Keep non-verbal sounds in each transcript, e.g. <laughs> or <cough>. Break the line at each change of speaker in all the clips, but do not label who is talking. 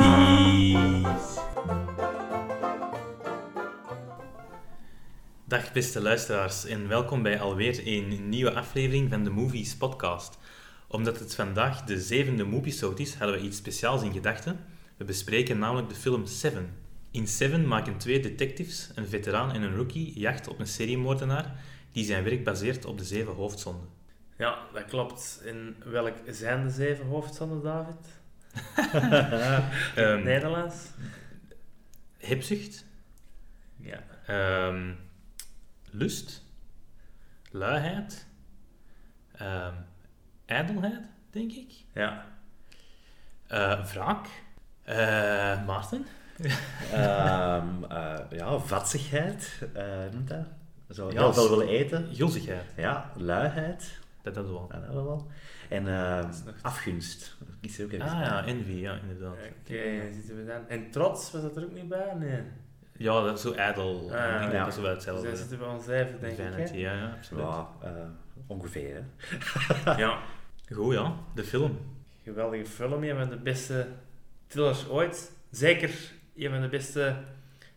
Vies. Dag beste luisteraars en welkom bij alweer een nieuwe aflevering van de Movies podcast. Omdat het vandaag de zevende Movieshoot is, hadden we iets speciaals in gedachten. We bespreken namelijk de film Seven. In Seven maken twee detectives, een veteraan en een rookie, jacht op een seriemoordenaar die zijn werk baseert op de zeven hoofdzonden.
Ja, dat klopt. En welk zijn de zeven hoofdzonden, David? In het
Ehm,
Nederlands?
Hebzucht,
Ja.
Ehm, lust, luiheid, ehm, ijdelheid, denk ik.
Ja.
Eh, wraak, Eh, Maarten,
Ehm, eh, ja, vatsigheid, eh, noemt dat? Zo
Ja,
heel
s-
veel willen eten.
gulzigheid,
Ja, luiheid,
dat hadden we al.
dat hebben we wel. En ehm,
is nog-
afgunst. Dat Is er ook even.
Ah ja, envy, ja, inderdaad.
Oké, dan zitten we dan. En trots was dat er ook niet bij? Nee.
Ja, dat is zo ijdel.
Ah,
ik denk
ja.
dat is wel
Dus
hetzelfde.
dan zitten we al zeven, denk ik.
Vanity,
hè?
ja, ja, absoluut.
Ja, eh, ongeveer. Hè.
Ja.
Goed, ja, de film.
Geweldige film. Een van de beste thrillers ooit. Zeker een van de beste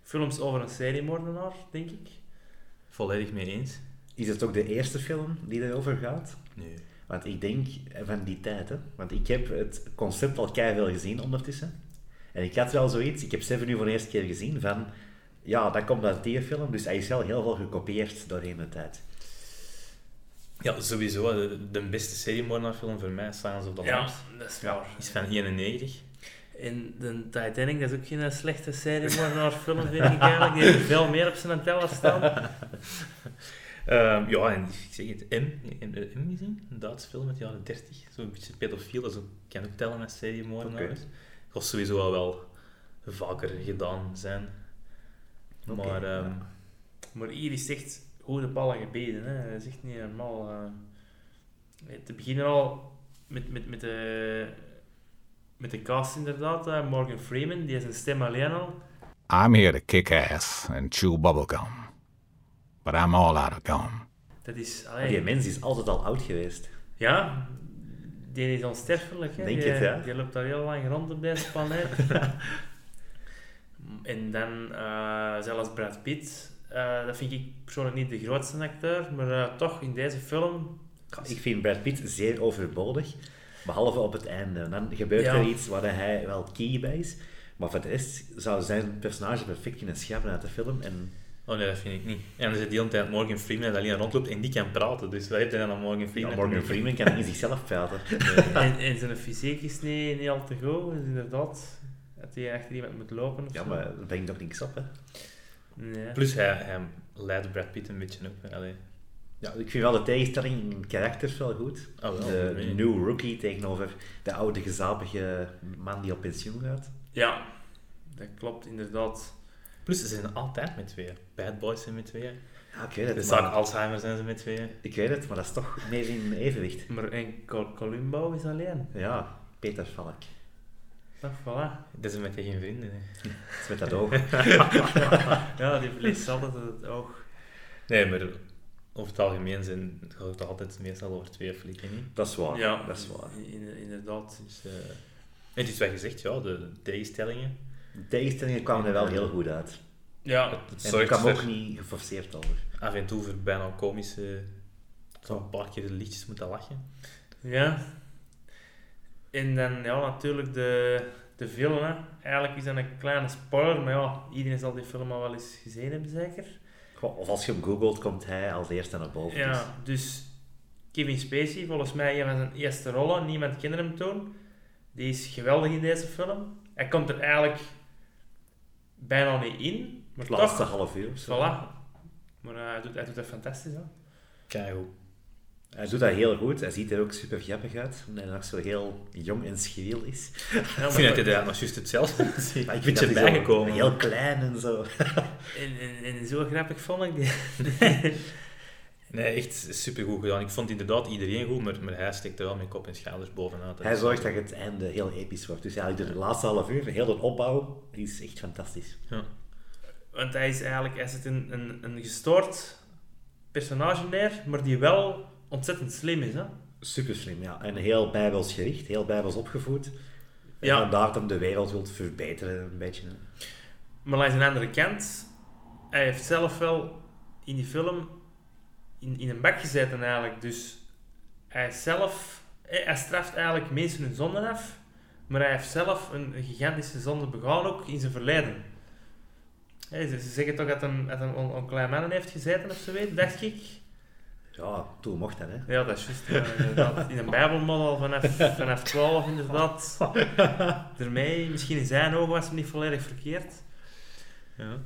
films over een seriemoordenaar, denk ik.
Volledig mee eens.
Is het ook de eerste film die daarover gaat?
Nee.
Want ik denk eh, van die tijd, hè. Want ik heb het concept al keihard gezien ondertussen. En ik had wel zoiets, ik heb Seven nu voor de eerste keer gezien, van... Ja, dat komt uit die film, dus hij is wel heel veel gekopieerd doorheen de tijd.
Ja, sowieso. hè, De, de beste seriemoordenaarfilm voor mij, Silence of the
Ja,
Lambs,
dat is waar.
is van 91.
En de Titanic, dat is ook geen eh, slechte seriemoordenaar film, vind ik eigenlijk. Die heeft veel meer op zijn teller staan.
Ehm, ja, en ik zeg het, M, M, M is een Duits film uit de jaren 30. Zo'n beetje pedofiel, dat is ook- kan ook tellen als seriemoordenaar.
Oké.
Dat was sowieso al wel vaker gedaan zijn.
Oké,
maar ehm,
ja.
Maar hier is echt goede ballen gebeden. Hè. Dat is echt niet normaal. eh. te beginnen al met, met, met, de, met de cast inderdaad. eh, Morgan Freeman, die is een stem alleen al.
I'm here to kick ass and chew bubblegum. But I'm all out of gum.
Dat is...
Maar
allee,
Ah, Die mens is altijd al oud geweest.
ja, die is onsterfelijk. Hè.
Denk
die,
het, hè?
Die loopt daar heel lang rond op deze planeet.
<laughs>
en dan eh, zelfs Brad Pitt. Eh, dat vind ik persoonlijk niet de grootste acteur, maar eh, toch in deze film...
Ik vind Brad Pitt zeer overbodig, behalve op het einde. Dan gebeurt
Ja.
er iets waar hij wel key bij is, maar voor de rest zou zijn personage perfect kunnen schaffen uit de film. En
oh nee, dat vind ik niet. En er zit de hele tijd Morgan Freeman dat alleen rondloopt en die kan praten. Dus wij hebben dan aan Morgan Freeman.
ja, Morgan Freeman kan in zichzelf
<laughs>
praten.
En, en zijn fysiek is niet, niet al te goed, dus inderdaad. Dat hij achter iemand moet lopen of
Ja,
zo.
maar dat brengt toch niks op, hè?
Nee.
Plus hij, hij leidt Brad Pitt een beetje op. Allee.
Ja, ik vind wel de tegenstelling in karakters wel goed.
Ah, wel,
de
nee.
new rookie tegenover de oude gezapige man die op pensioen gaat.
Ja, dat klopt inderdaad.
Plus ze zijn altijd met tweeën. Bad Boys zijn met tweeën.
Ja, ik weet
De
het,
zaak
maar,
Alzheimer zijn ze met tweeën.
ik weet het, maar dat is toch meer in evenwicht.
Maar en Col- Columbo is alleen.
Ja, Peter Valk.
Dat, voilà.
Dat zijn met geen vrienden. hè.
Dat is met dat oog.
<laughs>
Ja, die verliest altijd het oog.
Nee, maar over het algemeen zijn, gaat het altijd meestal over twee flikken. Niet?
Dat is waar.
Ja,
Oh, Dat is waar.
in- inderdaad.
Dus, eh, het is wat gezegd, ja, de tegenstellingen.
De tegenstellingen kwamen er wel heel goed uit.
Ja,
Het, het
En ik
zorgt
kwam
voor,
ook niet geforceerd over.
af en toe voor bijna komische... Ik zou een paar keer de liedjes moeten lachen.
Ja. En dan ja, natuurlijk de, de film. Hè. Eigenlijk is dat een kleine spoiler, maar ja, iedereen zal die film al wel eens gezien hebben, zeker.
Goh, Of als je hem googelt, komt hij als eerste naar boven. Dus
Ja, dus Kevin Spacey, volgens mij een van zijn eerste rollen. Niemand kende hem toen. Die is geweldig in deze film. Hij komt er eigenlijk bijna niet in. Maar
het laatste
toch,
half uur. of zo.
voilà. Maar eh, hij, doet, hij doet dat fantastisch, hè.
Keigoed.
Hij doet dat heel goed. Hij ziet er ook super grappig uit. Omdat hij nog zo heel jong en schriel is.
Ja,
Ik vind dat
maar-
hij daar nog juist hetzelfde <laughs> ziet.
<laughs> Maar
Een
ik vind
beetje
dat hij zo
bijgekomen.
Heel klein en zo. <laughs>
en, en, en zo grappig vond ik die.
Nee, echt supergoed gedaan. Ik vond inderdaad iedereen goed, maar, maar hij steekt er wel met kop en schouders bovenuit.
Hij zorgt dat het einde heel episch wordt. Dus eigenlijk de laatste half uur, heel de opbouw, die is echt fantastisch.
Ja.
Want hij is eigenlijk, hij zit een, een, een gestoord personage neer, maar die wel ontzettend slim is, hè.
Super slim, ja. En heel bijbels gericht, heel bijbels opgevoed.
Ja.
Ja. En daar hem de wereld wilt verbeteren een beetje. hè.
Maar langs een andere kant, hij heeft zelf wel in die film in, in een bak gezeten eigenlijk. Dus hij is zelf, hij hij straft eigenlijk mensen hun zonden af, maar hij heeft zelf een, een gigantische zonde begaan ook in zijn verleden. Hè, ze, ze zeggen toch dat hij dat hem een, een klein man heeft gezeten of zo weet, dacht ik.
Ja, toen mocht dat, hè.
Ja, dat is juist. ja, inderdaad. in een bijbelmodel vanaf, vanaf 12
<laughs>
inderdaad. Daarmee, misschien in zijn ogen was hem niet volledig verkeerd.
Ja.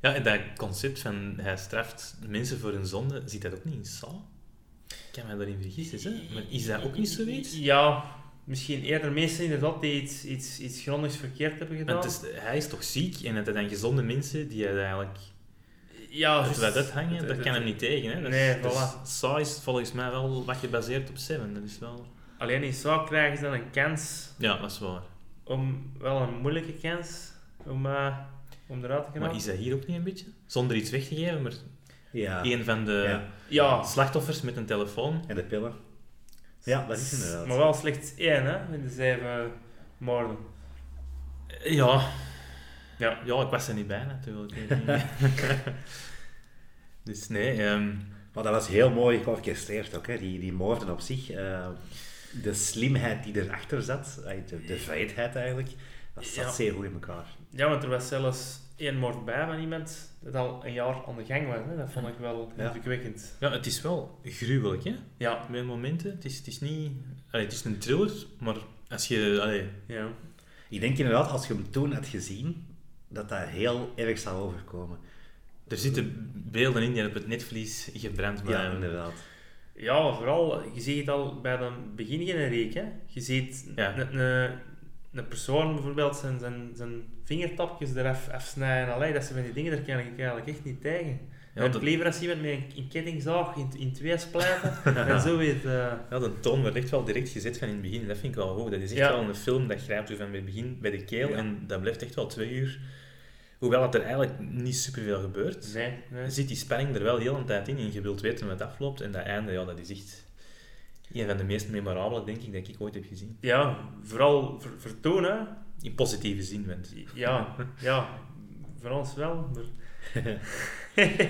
ja, en dat concept van hij straft mensen voor hun zonde, ziet dat ook niet in Saul? Ik kan mij daarin vergissen, hè? Maar is dat ook niet zoiets?
Ja, misschien eerder mensen inderdaad die iets, iets, iets grondigs verkeerd hebben gedaan.
Want het is, hij is toch ziek en het zijn gezonde mensen die hij eigenlijk...
ja,
Als
juist.
we dat hangen,
Het-
dat
het-
kan hem niet tegen. Hè? Dat is-
Nee,
dat is-
voilà.
Saw is volgens mij wel wat gebaseerd op Seven. Dat is wel...
Alleen in zou krijgen ze dan een kans,
Ja, dat is waar.
om, wel een moeilijke kans, om, eh, om eruit te
Maar
gaan.
is dat hier ook niet een beetje? Zonder iets weg te geven, maar
Ja.
een van de
Ja.
Ja,
slachtoffers met een telefoon.
En de pillen. Ja, dat is inderdaad.
maar wel slechts één hè, in de zeven moorden.
Eh, Ja.
Ja.
Ja, ik was er niet bij natuurlijk. Ik weet niet.
<laughs>
dus nee, ehm,
Maar dat was heel mooi georchestreerd ook, hè. Die, die moorden op zich. eh, de slimheid die erachter zat, eh, de, de vrijheid eigenlijk, dat zat
Ja.
zeer goed in elkaar.
Ja, want er was zelfs één moord bij van iemand dat al een jaar aan de gang was. Hè. Dat vond ik wel
Ja.
indrukwekkend.
ja, het is wel gruwelijk, hè?
Ja.
Bij momenten. Het is, het is niet... Allee, het is een thriller, maar als je... Allee,
ja.
Ik denk inderdaad, als je hem toen had gezien, dat dat heel erg zou overkomen.
er zitten beelden in die op het netvlies gebrand
Ja,
blijven.
inderdaad. <laughs>
Ja, maar vooral, je ziet het al bij de begingeneriek. Hè? Je ziet
Ja.
een, een, een persoon bijvoorbeeld zijn, zijn, zijn vingertapjes eraf afsnijden. Allee, dat zijn van die dingen, daar kan ik eigenlijk echt niet tegen.
Ja,
en
dat-
het liever als iemand met een, een kettingzaag in, in
<laughs>
twee splijten en zo weet... eh,
Ja, de toon werd echt wel direct gezet van in het begin. Dat vind ik wel goed. Dat is echt
Ja.
wel een film dat grijpt u van bij het begin bij de keel.
Ja.
En dat blijft echt wel twee uur. Hoewel dat er eigenlijk niet superveel gebeurt,
nee, nee.
zit die spanning er wel heel een tijd in. En je wilt weten wat afloopt. En dat einde, ja, dat is echt een van de meest memorabele, denk ik, dat ik ooit heb gezien.
Ja, vooral ver, vertonen.
In positieve zin, want...
Ja, ja, voor ons wel. Maar...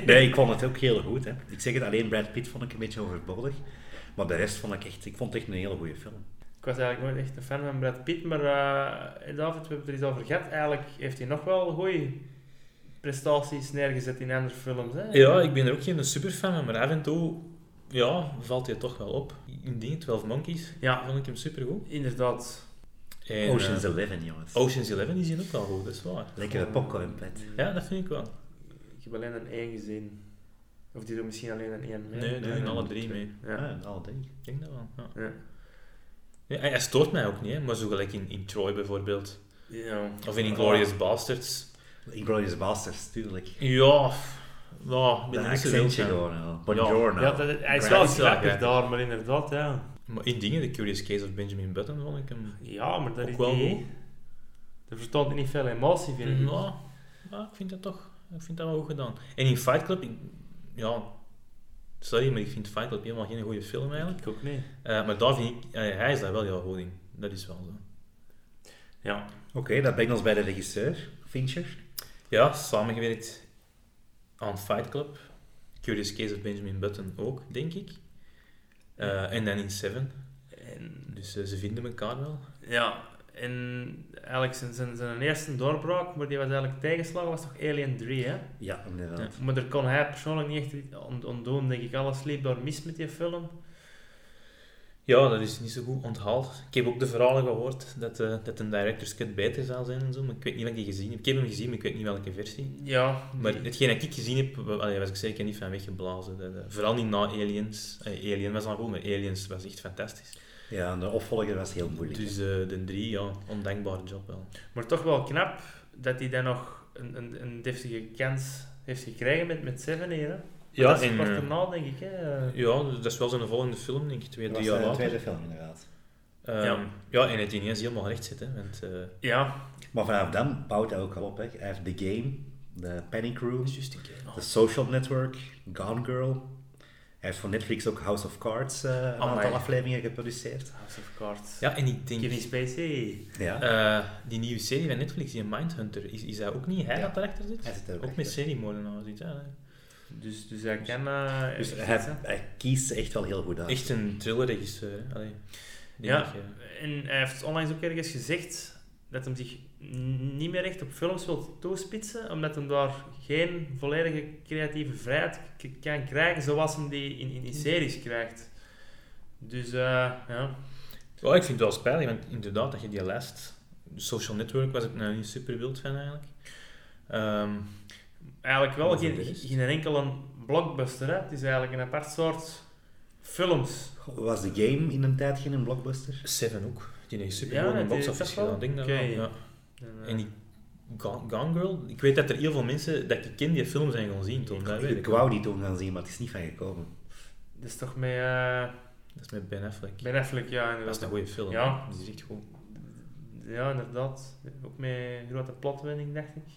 Nee, ik vond het ook heel goed. Hè. Ik zeg het, alleen Brad Pitt vond ik een beetje overbodig. Maar de rest vond ik echt... Ik vond het echt een hele goede film.
Ik was eigenlijk nooit echt een fan van Brad Pitt, maar eh, David, we hebben het er eens over gehad. Eigenlijk heeft hij nog wel goede prestaties neergezet in andere films. Hè?
Ja, ik ben er ook geen superfan van, maar af en toe ja, valt hij toch wel op. In die 12 Monkeys
Ja.
vond ik hem supergoed.
Inderdaad.
En,
Ocean's
eh,
Eleven, jongens.
Ocean's Eleven is hier ook wel goed, dat is waar.
Lekkere popcornpet.
Ja, dat vind ik wel.
Ik heb alleen een één gezien. Of die doen misschien alleen een één mee.
Nee, nee,
nee,
alle
nee,
drie
twee.
mee.
Ja,
Ja.
al drie.
Ik denk dat wel. Ja.
Ja.
Ja, hij, hij stoort mij ook niet, hè, maar zo gelijk in, in Troy bijvoorbeeld.
Ja.
Of in Inglorious Bastards.
Inglourious Basterds, tuurlijk.
Ja, f- ja ik eh, ben
Een
er niet zo wild
accentje
van.
gewoon al. Buongiorno.
Ja, dat, hij is
Brad
wel
is wel
grappig
grappig.
daar, maar inderdaad, ja.
Maar in dingen, The Curious Case of Benjamin Button, vond ik hem...
Ja, maar dat
Ook
is
wel
niet...
goed.
Er vertoont niet veel emotie, vind ik.
Mhm. Ja, ja, ik vind dat toch... Ik vind dat wel goed gedaan. En in Fight Club... ik- ja, sorry, maar ik vind Fight Club helemaal geen goede film eigenlijk.
Ik ook niet.
Eh, maar daar vind ik... eh, hij is daar wel heel goed in. Dat is wel zo.
Ja.
Oké, dat brengt ons bij de regisseur, Fincher.
Ja, samengewerkt aan Fight Club. Curious Case of Benjamin Button ook, denk ik. Eh, en dan in Seven.
En
Dus eh, ze vinden elkaar wel.
Ja, en eigenlijk zijn, zijn, zijn eerste doorbraak, maar die was eigenlijk tegenslagen, was toch Alien 3, hè?
Ja, inderdaad.
Maar daar kon hij persoonlijk niet echt aan aan doen, denk ik. Alles liep daar mis met die film.
Ja, dat is niet zo goed onthaald. Ik heb ook de verhalen gehoord dat, eh, dat een director's cut beter zou zijn en zo. Maar ik weet niet welke gezien heb. Ik heb hem gezien, maar ik weet niet welke versie.
Ja.
Maar hetgeen dat ik gezien heb, wa- allee, was ik zeker niet van weggeblazen. Dat, eh, vooral niet na Aliens. Eh, Alien was dan goed, maar Aliens was echt fantastisch.
Ja, en de opvolger was heel moeilijk.
Dus eh, de drie, ja, ondankbare job wel.
maar toch wel knap dat hij dan nog een, een, een deftige kans heeft gekregen met, met Seven hier, hè?
Ja,
dat is
en,
kort
eh,
daarna, denk ik, hè?
Ja, dus dat is wel zijn volgende film, denk ik, twee,
dat was
drie jaar
de
later.
tweede film, inderdaad.
Ehm,
Ja.
ja. en het ineens helemaal recht zit, hè. Want, eh,
Ja.
Maar vanaf dan bouwt hij ook al op. Hè. Hij heeft The Game, The Panic Room,
juist een keer.
The Social Network, Gone Girl. Hij heeft voor Netflix ook House of Cards eh, een
Amai.
aantal afleveringen geproduceerd.
House of Cards.
Ja, en ik denk...
Kevin Spacey.
Ja.
eh, die nieuwe serie van Netflix, die Mindhunter, is, is dat ook niet hij
Ja.
dat erachter zit?
Hij zit er ook
ook
achter.
met seriemoordenaar zit hè?
Dus, dus hij kan... eh,
Dus
echt
hij,
iets, hè.
hij kiest ze echt wel heel goed uit.
Echt een thrillerregisseur. hè. Allee, denk
Ja,
ik, eh.
en hij heeft onlangs ook ergens gezegd dat hij zich n- niet meer echt op films wil toespitsen, omdat hij daar geen volledige creatieve vrijheid k- kan krijgen zoals hij die in, in, in series krijgt. Dus eh, ja,
Ja, ik vind het wel spijtig, want inderdaad, dat je die lijst... Social Network was ik nou niet super wild van eigenlijk. Ehm,
eigenlijk wel
Wat is
geen,
de rest?
geen enkele blockbuster. Hè. Het is eigenlijk een apart soort films.
Was de game in een tijd geen blockbuster?
Seven ook. Die heeft super
Ja,
goed in de
die-
box
dat
office
wel.
gedaan. Denk dat
Oké.
wel, ja.
En, eh,
En die Gone, Gone Girl, ik weet dat er heel veel mensen dat ik ken die film zijn gaan zien toen. Dat, weet
Ik
ik.
wou die toen gaan zien, maar het is niet van gekomen.
Dat is toch met eh
dat is met Ben Affleck.
Ben Affleck, ja,
Dat is
inderdaad.
een goede film.
Ja.
Die is echt goed.
Ja, inderdaad. Ook met grote plotwending, dacht ik. Een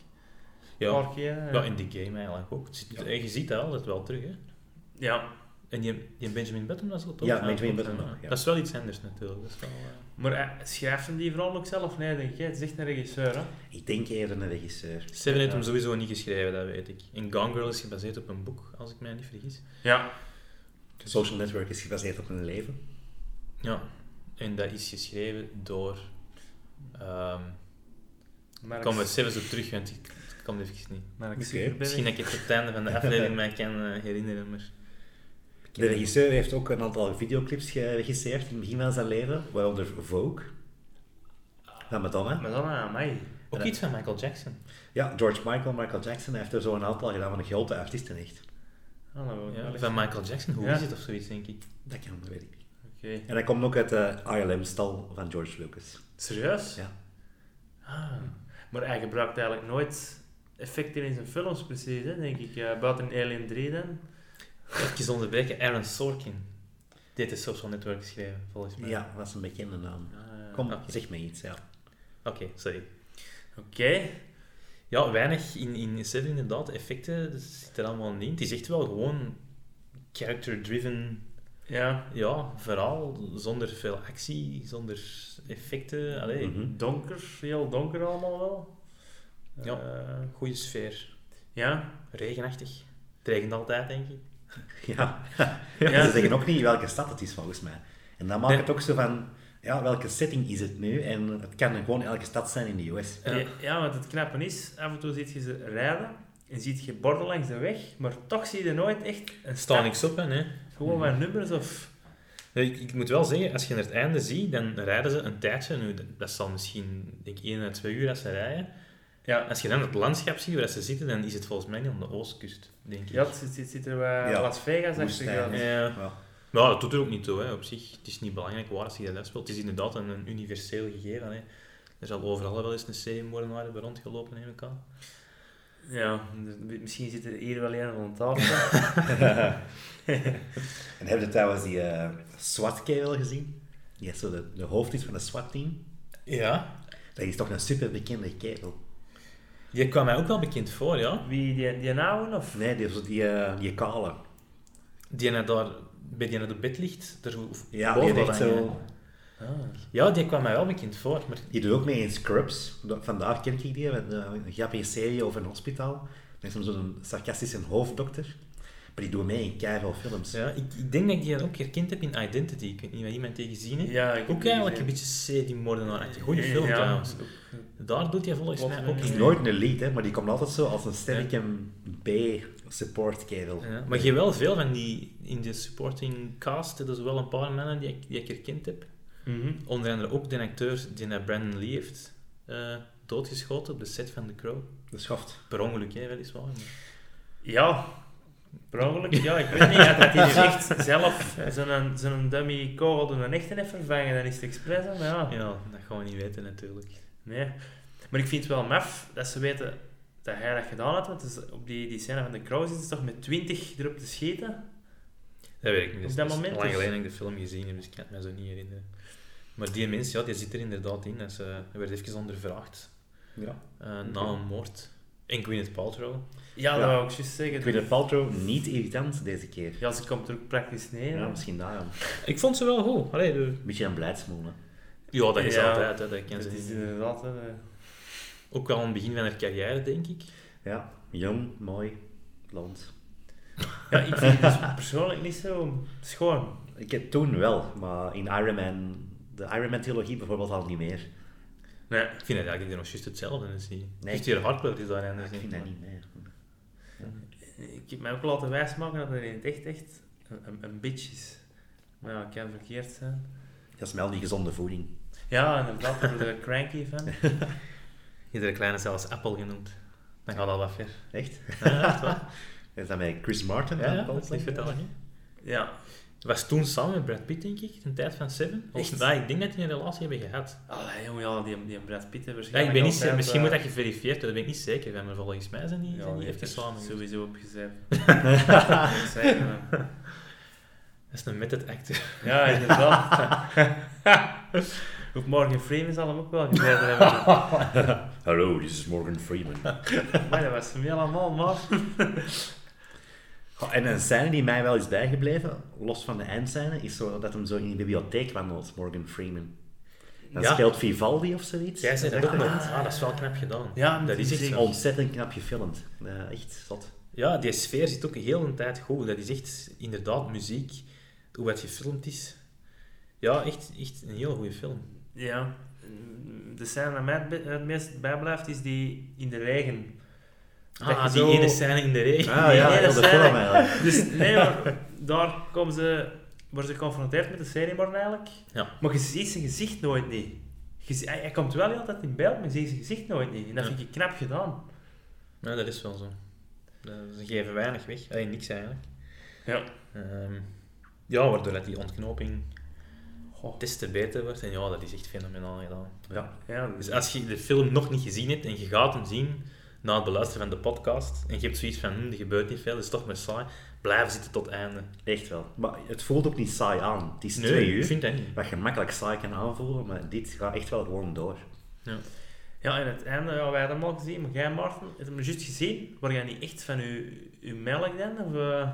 Ja.
paar keer, eh. hè.
ja, in de game eigenlijk ook. Het zit- eh,
Ja.
Je ziet dat altijd wel terug, hè.
ja,
En die, die Benjamin Button was dat toch?
Ja, Benjamin Button, ja.
Dat is wel iets anders natuurlijk. Dat is wel, eh,
Maar eh, schrijven die vooral ook zelf? Nee, denk jij. Het is echt een regisseur, hè?
Ik denk eerder een regisseur.
Seven heeft
Ja.
hem sowieso niet geschreven, dat weet ik. En Gone Girl is gebaseerd op een boek, als ik mij niet vergis.
Ja.
Social Network is gebaseerd op een leven.
Ja. En dat is geschreven door... ehm
Maar
ik kom er Seven op terug, want ik ik kom even niet.
Oké.
Misschien dat ik het op het einde van de aflevering mij kan eh, herinneren, maar...
De regisseur heeft ook een aantal videoclips geregisseerd in het begin van zijn leven, waaronder Vogue. Van Madonna.
Ah, Maar dan aan mij.
Ook iets van Michael Jackson.
Ja, George Michael, Michael Jackson hij heeft er zo een aantal gedaan van de grote artiesten echt.
Hallo.
Ja,
Oké.
van Michael Jackson, hoe
Ja.
is het of zoiets, denk ik.
Dat kan, dat weet ik niet. En hij komt ook uit de ILM-stal van George Lucas.
Serieus?
Ja.
Ah. Maar hij gebruikt eigenlijk nooit effecten in zijn films, precies, hè? Denk ik. Eh, buiten Alien 3 dan.
Even onderbreken, Aaron Sorkin. Dit is Social Network geschreven, volgens mij.
Ja, dat is een bekende naam.
Ah.
Kom,
Oké.
zeg me iets, ja.
Oké, sorry.
Oké.
Ja, weinig in, in Seven inderdaad. Effecten dat zit er allemaal niet in. Het is echt wel gewoon character-driven
Ja.
ja, verhaal. Zonder veel actie, zonder effecten. Allee,
Mhm.
Donker. Heel donker allemaal wel.
Ja.
Eh,
goede sfeer.
ja.
Regenachtig. Het regent altijd, denk ik.
Ja.
Ja.
Ze zeggen ook niet welke stad het is, volgens mij. En dat maakt
Nee.
het ook zo van, ja, welke setting is het nu? En het kan gewoon elke stad zijn in de US.
Ja.
Ja. ja, want het knappe is, af en toe ziet je ze rijden en ziet je borden langs de weg, maar toch zie je nooit echt een
Er staat
stad.
niks op, hè. nee.
Gewoon maar nummers of...
Ja, Ik, ik moet wel zeggen, als je naar het einde ziet, dan rijden ze een tijdje. Nu, dat, dat zal misschien, denk ik, één à twee uur als ze rijden.
Ja,
Als je dan het landschap ziet waar ze zitten, dan is het volgens mij niet aan de oostkust, denk ik.
ja het zit, zit, zit er bij
Ja.
Las Vegas achter.
Woestijn, hè.
Ja.
Ja.
Maar ja, dat doet er ook niet toe, hè, op zich. Het is niet belangrijk waar als je dat speelt. Het is inderdaad een, een universeel gegeven. Hè. Er zal overal wel eens een seriemoordenaar hebben rondgelopen, neem ik aan.
Ja, dus misschien zit er hier wel een van tafel. <laughs>
En hebben je trouwens die eh SWAT-kerel gezien? Die is zo de, de hoofd is van een SWAT-team.
Ja.
Dat is toch een superbekende kerel.
Die kwam mij ook wel bekend voor, ja.
Wie, die, die oude of?
Nee, die, zo die, eh, die kale.
Die naar daar, bij die naar de bed ligt. Daar,
Ja,
boven
die,
hangen.
heeft zo,
Ah.
Ja, die kwam mij wel bekend voor, maar
die doet ook mee in Scrubs. Da- Vandaar ken ik die, met eh, een grappige serie over een hospitaal. Met zo'n- zo'n sarcastische hoofddokter. Maar die doet mee in keiveel films.
Ja, ik, ik denk dat ik die ook herkend heb in Identity. Ik weet niet wat iemand die gezien heeft.
Ja, ik heb
ook
die
eigenlijk
gezien.
een beetje serie-moordenaar. Goede film
Ja.
trouwens. Daar doet hij volgens
Klopt,
mij
nee,
ook
Het
in.
is nooit een lead, hè, maar die komt altijd zo als een sterke B-support kerel.
Ja, maar je hebt wel veel van die in de supporting cast. Dat is wel een paar mannen die ik, die ik herkend heb.
Mhm.
Onder andere ook de acteur die naar Brandon Lee heeft eh, doodgeschoten op de set van The Crow.
De schaft.
Per ongeluk, hè, weliswaar. maar-
Ja, per ongeluk. Ja, ik weet niet. Had had hij dus echt zelf zijn, zijn dummy kogel door een echte heeft vervangen, dan is het expres. hè, Maar ja.
Ja, dat gaan we niet weten natuurlijk.
Nee. Maar ik vind het wel maf dat ze weten dat hij dat gedaan had. Want het is op die, die scène van de Crow zitten ze toch met 20 erop te schieten.
Dat weet ik niet.
Op dat
Het is
moment
Lang
is-
geleden heb ik de film gezien, heb, dus ik kan het me zo niet herinneren. Maar die mens, ja, die zit er inderdaad in. Hij is, eh, hij werd even ondervraagd
Ja.
eh, na een moord. En Gwyneth Paltrow.
Ja, dat
Ja.
wou ik juist zeggen.
Ik vind het Paltrow niet irritant deze keer.
Ja, ze komt er ook praktisch neer.
Ja,
hè.
misschien daarom.
Ik vond ze wel goed. Allee, de-
Een beetje een blijdsmoel, hè.
Ja, dat is
Ja.
altijd. Hè, dat ken
Dat
ze
is
niet.
inderdaad... hè, de-
Ook wel aan het begin van haar carrière, denk ik.
Ja, jong, mooi, blond.
Ja, ik vind het dus persoonlijk niet zo schoon.
Ik heb toen wel, maar in Iron Man... De Iron Man-trilogie bijvoorbeeld al niet meer.
Nee.
Ik vind het eigenlijk nog juist hetzelfde. Is die.
Nee.
Juist die hardcore is daar anders
Ik vind
in.
dat niet meer.
Ik heb mij ook laten wijsmaken dat het in het echt echt een, een, een bitch is. Maar ja, ik kan verkeerd zijn.
Dat is wel die gezonde voeding.
Ja, inderdaad, daar
<laughs>
word ik cranky van.
Iedere kleine zelfs Apple genoemd. Dan gaat dat wat ver.
Echt?
Ja, echt waar.
Is <laughs> dat met Chris Martin?
Ja,
dan,
ja, dat is
Paltrow?
niet vertellen. hè.
Ja.
Was toen samen met Brad Pitt, denk ik, in de tijd van Seven. Of
Echt?
dat, ik denk dat die een relatie hebben gehad.
Allee, jongen, ja, die, die Brad Pitt
Ja,
hè,
ik
waarschijnlijk
ben niet,
altijd,
zeker- misschien
eh,
moet dat geverifieerd worden, daar ben ik niet zeker van. Maar volgens mij zijn die,
Ja,
zijn die dus- even
die heeft er
samen. geweest.
sowieso
<laughs>
opgezet. Dat zijn we.
Dat is een method <laughs> actor. <laughs>
ja, inderdaad. <laughs> Op Morgan Freeman zal hem ook wel
<laughs>
gezet hebben.
Hallo, dit is Morgan Freeman.
Maar dat was hem heel allemaal, man.
Goh, en een scène die mij wel is bijgebleven, los van de eindscène, is zo dat hem zo in de bibliotheek wandelt, Morgan Freeman. Dat
Ja.
speelt Vivaldi of zoiets.
Jij zei dat
is
ook
echt
nog. Ah, dat is wel knap gedaan.
Ja,
dat is echt
zeker.
zo.
Ontzettend knap gefilmd. Eh, echt zot.
Ja, die sfeer zit ook heel een tijd goed. Dat is echt inderdaad muziek, hoe het gefilmd is. Ja, echt, echt een heel goede film.
Ja. De scène die mij het be- het meest bijblijft is die in de regen.
Ah,
Dat je
die
zo-
ene scène in de regen.
Ah <laughs> ja,
Nee,
heel
dat
de
is
film
eigenlijk-
eigenlijk.
Dus nee, maar daar komen ze, worden ze geconfronteerd met de seriemorgen eigenlijk.
Ja.
Maar je ziet zijn gezicht nooit niet. Je zie- hij, hij komt wel altijd in beeld, maar je ziet zijn gezicht nooit niet. En dat
Ja.
vind ik knap gedaan.
<laughs> Ja, dat is wel zo. Eh, Ze geven weinig weg. Allee, niks eigenlijk.
Ja.
Ehm, ja, waardoor dat die ontknoping
Goh.
des te beter wordt. En ja, dat is echt fenomenaal gedaan.
Ja.
Ja,
Dus als je de film nog niet gezien hebt en je gaat hem zien na het beluisteren van de podcast en je hebt zoiets van, hm, er gebeurt niet veel, dat is toch maar saai, blijf zitten tot het einde.
Echt wel. Maar het voelt ook niet saai aan. Het is
Nee,
twee
ik
uur,
vind dat niet.
wat je makkelijk saai kan aanvoelen, maar dit gaat echt wel gewoon door.
ja, en het einde, ja, wij hebben hem al gezien, maar jij, Martin, hebt hem juist gezien. Word jij niet echt van je, je melk dan? Of, eh?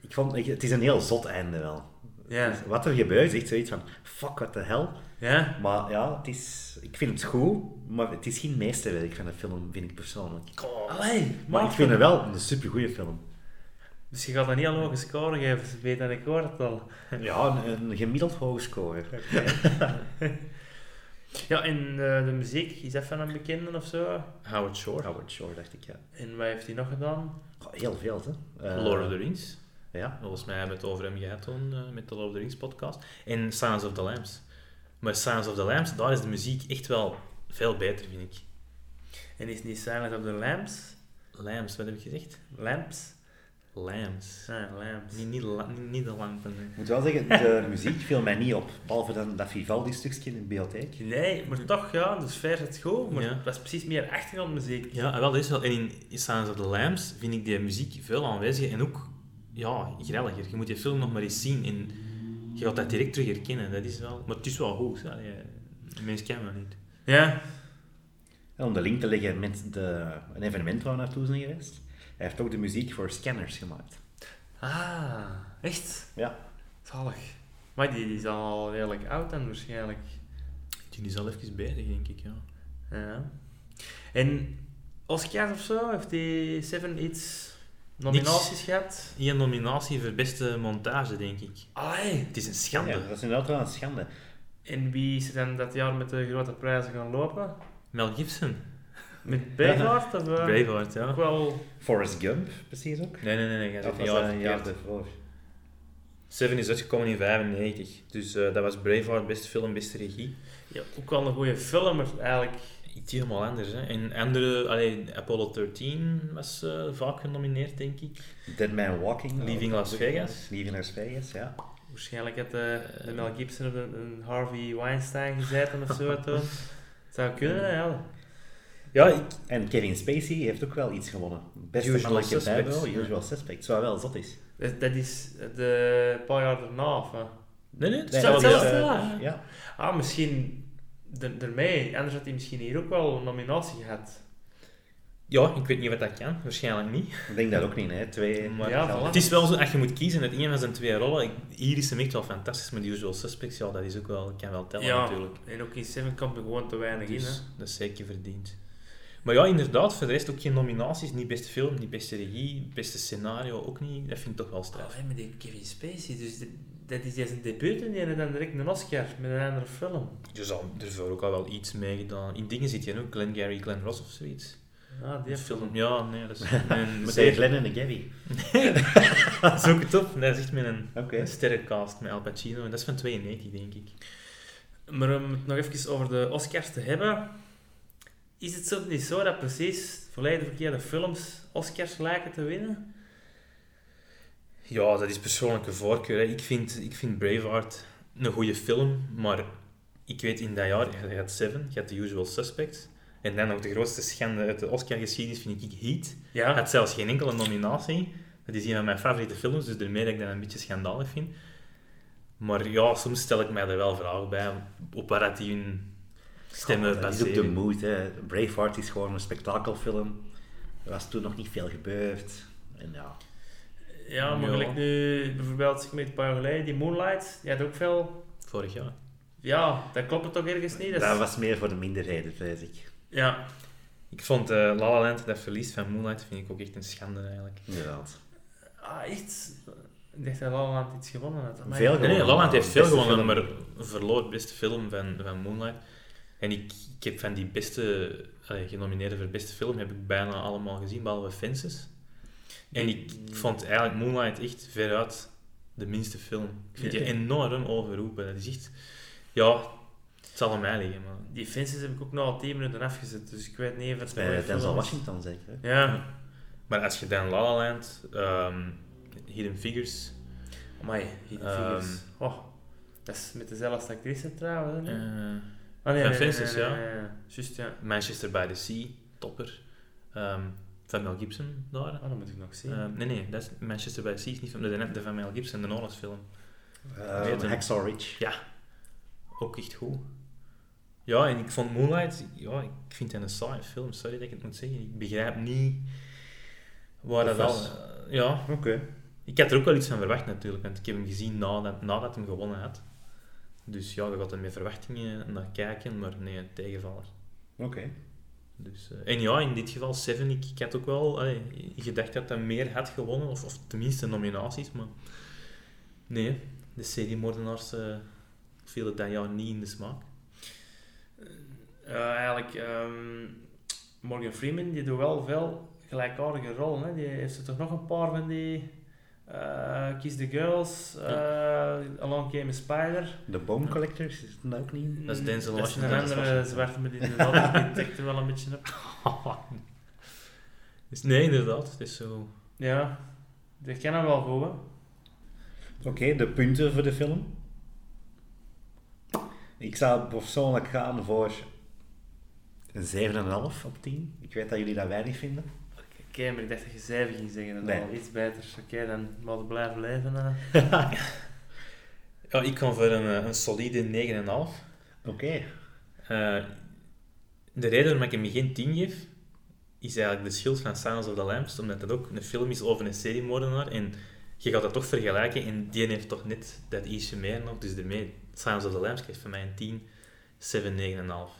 Ik vond, ik- het is een heel zot einde wel.
Ja.
Dus wat er gebeurt, is echt zoiets van, fuck, what the hell.
Ja?
Maar ja, het is, ik vind het goed, maar het is geen meesterwerk van de film, vind ik persoonlijk.
Allee,
Maar ik vind het wel een supergoeie film.
<laughs>
Dus je gaat een heel hoge score geven, ze weet dat ik hoor het al.
Ja, een, een gemiddeld hoge score.
Ja, en eh, de muziek, is dat van een bekende of zo?
Howard Shore.
Howard Shore, dacht ik, ja.
En wat heeft hij nog gedaan?
Goh, heel veel, hè. Eh,
Lord of the Rings.
Ja.
Volgens mij hebben we het over hem gehad toen, eh, met de Lord of the Rings podcast. En Silence of the Lambs. Maar Silence of the Lambs, daar is de muziek echt wel veel beter, vind ik.
En is niet Silent of the Lambs?
Lambs, wat heb ik gezegd?
Lamps?
Lambs.
Ja, Ah, Lambs.
Niet, niet, la- niet, niet de lampen. hè.
Ik moet wel zeggen, de <laughs> muziek viel mij niet op. Behalve dan dat Vivaldi-stukje in de bibliotheek.
Nee, maar toch, ja, de sfeer zit goed, maar
Ja.
dat is precies meer achtergrondmuziek.
Ja, en wel, dat is wel. En in Silence of the Lambs vind ik die muziek veel aanweziger en ook ja, grelliger. Je moet die film nog maar eens zien en je gaat dat direct terug herkennen. Dat is wel... Maar het is wel goed. Hè. Mensen kennen dat niet.
Ja.
En Om de link te leggen met de, een evenement waar we naartoe zijn geweest. Hij heeft ook de muziek voor Scanners gemaakt.
Ah, echt?
Ja.
Zalig. Maar die, die is al redelijk oud dan waarschijnlijk.
Die is al even bezig, denk ik. Ja.
Ja. En Oscars of zo, heeft die Seven iets nominaties gehad?
Hier een nominatie voor beste montage, denk ik.
Allee.
Het is een schande.
Ja, dat is inderdaad wel een schande.
En wie is er dan dat jaar met de grote prijzen gaan lopen?
Mel Gibson.
Met Braveheart? Of, eh,
Braveheart,
Ook
ja.
wel...
Forrest Gump, precies ook.
Nee, nee, nee. nee jij
Dat
zegt
was
een jaar
een jaar
verkeerd.
daarvoor.
Seven is uitgekomen in 95. Dus eh, dat was Braveheart, beste film, beste regie.
Ja, ook wel een goede filmer eigenlijk.
Iets helemaal anders. Hè. En andere, allee, Apollo 13 was eh, vaak genomineerd, denk ik.
Dead Man Walking.
Leaving Las Vegas.
Leaving Las Vegas, ja.
Waarschijnlijk had eh, de Mel Gibson of een, een Harvey Weinstein gezeten of
<laughs>
zo toen. Zou kunnen, hè, ja.
Ja, ik,
En Kevin Spacey heeft ook wel iets gewonnen. Beste
Usual
mannelijke
Suspects.
bijbel,
Ja.
Usual Suspects. Wat wel zot is.
Dat, dat is eh, de een paar jaar daarna. Of, eh.
nee, nee, het is
Nee, dat
hetzelfde.
is, eh,
jaar?
Ja.
Ah, misschien er- ermee. Anders had hij misschien hier ook wel een nominatie gehad.
Ja, ik weet niet wat dat kan. Waarschijnlijk niet.
Ik denk dat ook niet, hè. Twee...
Maar
Ja, voilà.
het is wel zo, als je moet kiezen uit een van zijn twee rollen, ik- hier is hem echt wel fantastisch, maar die Usual Suspects, ja, dat is ook wel, kan wel tellen
ja,
natuurlijk.
en ook in Seven komt er gewoon te weinig in.
Dus
Hè.
dat is zeker verdiend. Maar ja, inderdaad, voor de rest ook geen nominaties. Niet beste film, niet beste regie, beste scenario ook niet. Dat vind ik toch wel straf.
Allee, Oh, met die Kevin Spacey, dus dat- dat is juist een debuut en die heeft dan direct een Oscar met een andere film.
Je zal ervoor ook al wel iets mee gedaan. In dingen zit je ook, Glenn Gary, Glenn Ross of zoiets.
Ah, die
Die
film.
film, ja, nee, <laughs> dat is... en-
Met
maar
de
die-
Glenn en de Gabby.
dat is ook top. Dat is echt met een,
Oké.
een sterrencast met Al Pacino. En dat is van 92, denk ik.
Maar om het nog even over de Oscars te hebben, is het zo niet zo dat precies volledig verkeerde films Oscars lijken te winnen?
Ja, dat is persoonlijke voorkeur. hè. Ik vind, ik vind Braveheart een goede film, maar ik weet in dat jaar, je had Seven, je had The Usual Suspects. En dan nog de grootste schande uit de Oscar-geschiedenis vind ik Heat.
Ja,
Had zelfs geen enkele nominatie. Dat is een van mijn favoriete films, dus daarmee dat ik dat een beetje schandalig vind. Maar ja, soms stel ik mij er wel vragen bij, op waar dat die hun stemmen
Dat is ook de
baseren.
mood, hè. Braveheart is gewoon een spektakelfilm. Er was toen nog niet veel gebeurd. En ja,
ja maar
Ja.
gelijk nu, bijvoorbeeld zeg maar, een paar jaar geleden, die Moonlight, die had ook veel...
Vorig jaar.
Ja, dat klopt toch ergens niet?
dat,
Dat is-
was meer voor de minderheden, vrees ik.
Ja,
Ik vond eh La La Land, dat verlies van Moonlight, vind ik ook echt een schande eigenlijk.
Inderdaad.
ah, echt? Ik dacht dat La La Land iets gewonnen had. Amai.
Veel
Nee, nee,
gewonnen.
La La Land heeft veel
Beste
gewonnen, maar
film.
verloor beste film van, van Moonlight. En ik, ik heb van die beste, allee, genomineerden voor beste film, heb ik bijna allemaal gezien, behalve Fences. En ik vond eigenlijk Moonlight echt veruit de minste film. Ik vind die
Ja.
enorm overroepen. Dat is echt... Ja, het zal aan mij liggen, maar...
Die Fences heb ik ook nog al 10 minuten afgezet, dus ik weet niet of het een
Bij
goede
Eh, Denzel
film is.
Washington, zeker. hè?
Ja,
Maar als je dan La La Land, ehm, Hidden Figures...
amai, die
Ehm.
figures. Oh, dat is met dezelfde actrice trouwens. hè?
eh,
Ah, nee,
Van
nee, nee,
Fences,
nee,
ja.
nee, nee, nee. Juist, ja.
Manchester by the Sea, topper. Ehm van Mel Gibson daar.
Ah, dat moet ik nog zien.
Ehm, nee, nee, dat is Manchester by the Sea is niet van de, de- de van Mel Gibson, de Nolan-film.
Eh,
Weet hem.
Hacksaw Ridge.
Ook echt goed. Ja, en ik vond Moonlight, ja, ik vind het een saaie film, sorry dat ik het moet zeggen. Ik begrijp niet waar
De
dat al...
vast.
eh, ja,
Oké.
ik had er ook wel iets van verwacht natuurlijk, want ik heb hem gezien nadat, nadat hij gewonnen had. Dus ja, je gaat er met verwachtingen naar kijken, maar nee, een tegenvaller.
Oké.
Dus, eh, en ja, in dit geval Seven, ik, ik had ook wel allee, gedacht dat hij meer had gewonnen, of, of tenminste nominaties, maar nee, de seriemoordenaars eh vielen dat jaar niet in de
<laughs>
smaak.
Eh, eigenlijk, ehm, Morgan Freeman, die doet wel veel gelijkaardige rollen. Hè. Die heeft er toch nog een paar van die... eh, Kiss the Girls, eh, Along Came a Spider.
De Bone Collectors, is dat ook niet?
Dat is Denzel
Dat is
Washington,
een
dat is
andere
Washington.
zwarte, maar die inderdaad die trekt er wel een beetje op.
<laughs> dus nee, inderdaad, het is zo.
<laughs> Ja, dat kan hem wel goed, hè.
Oké, de punten voor de film. Ik zou persoonlijk gaan voor een 7,5 op 10. Ik weet dat jullie dat weinig vinden.
Oké, maar ik dacht dat je zeven ging zeggen. Dat
Nee.
is al iets beter. Oké, dan mag het blijven eh. leven. hè.
Ja, ik ga voor een, eh, een solide 9,5.
Oké.
Eh, de reden waarom ik hem geen 10 geef, is eigenlijk de schuld van Silence of the Lambs, omdat dat ook een film is over een seriemoordenaar. En je gaat dat toch vergelijken en die heeft toch net dat ietsje meer nog. Dus daarmee, Silence of the Lambs geeft van mij een 10, 7, 9,5.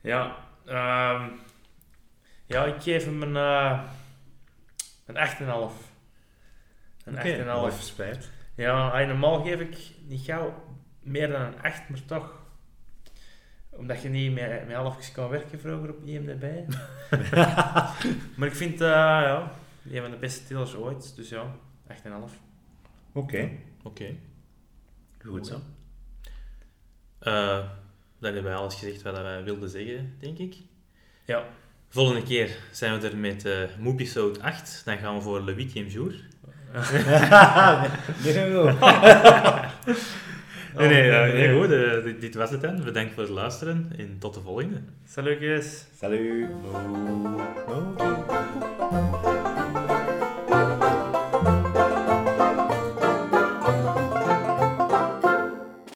Ja, ehm, ja, ik geef hem een, eh een 8,5. Een 8,5.
spijt.
Ja, hij normaal geef ik niet gauw meer dan een 8, maar toch. Omdat je niet met, met halfjes kan werken vroeger op IMDb. maar ik vind, eh ja, een van de beste tillers ooit. Dus ja, 8,5.
Oké,
Oké.
goed <laughs> zo.
Eh, dan hebben wij alles gezegd wat wij wilden zeggen, denk ik.
Ja.
Volgende keer zijn we er met eh Moepisode 8. Dan gaan we voor Le 8e jour. Nee, nee, eh, nee, goed. eh, dit- dit was het dan. Bedankt voor het luisteren en tot de volgende.
Salut, guys.
Salut.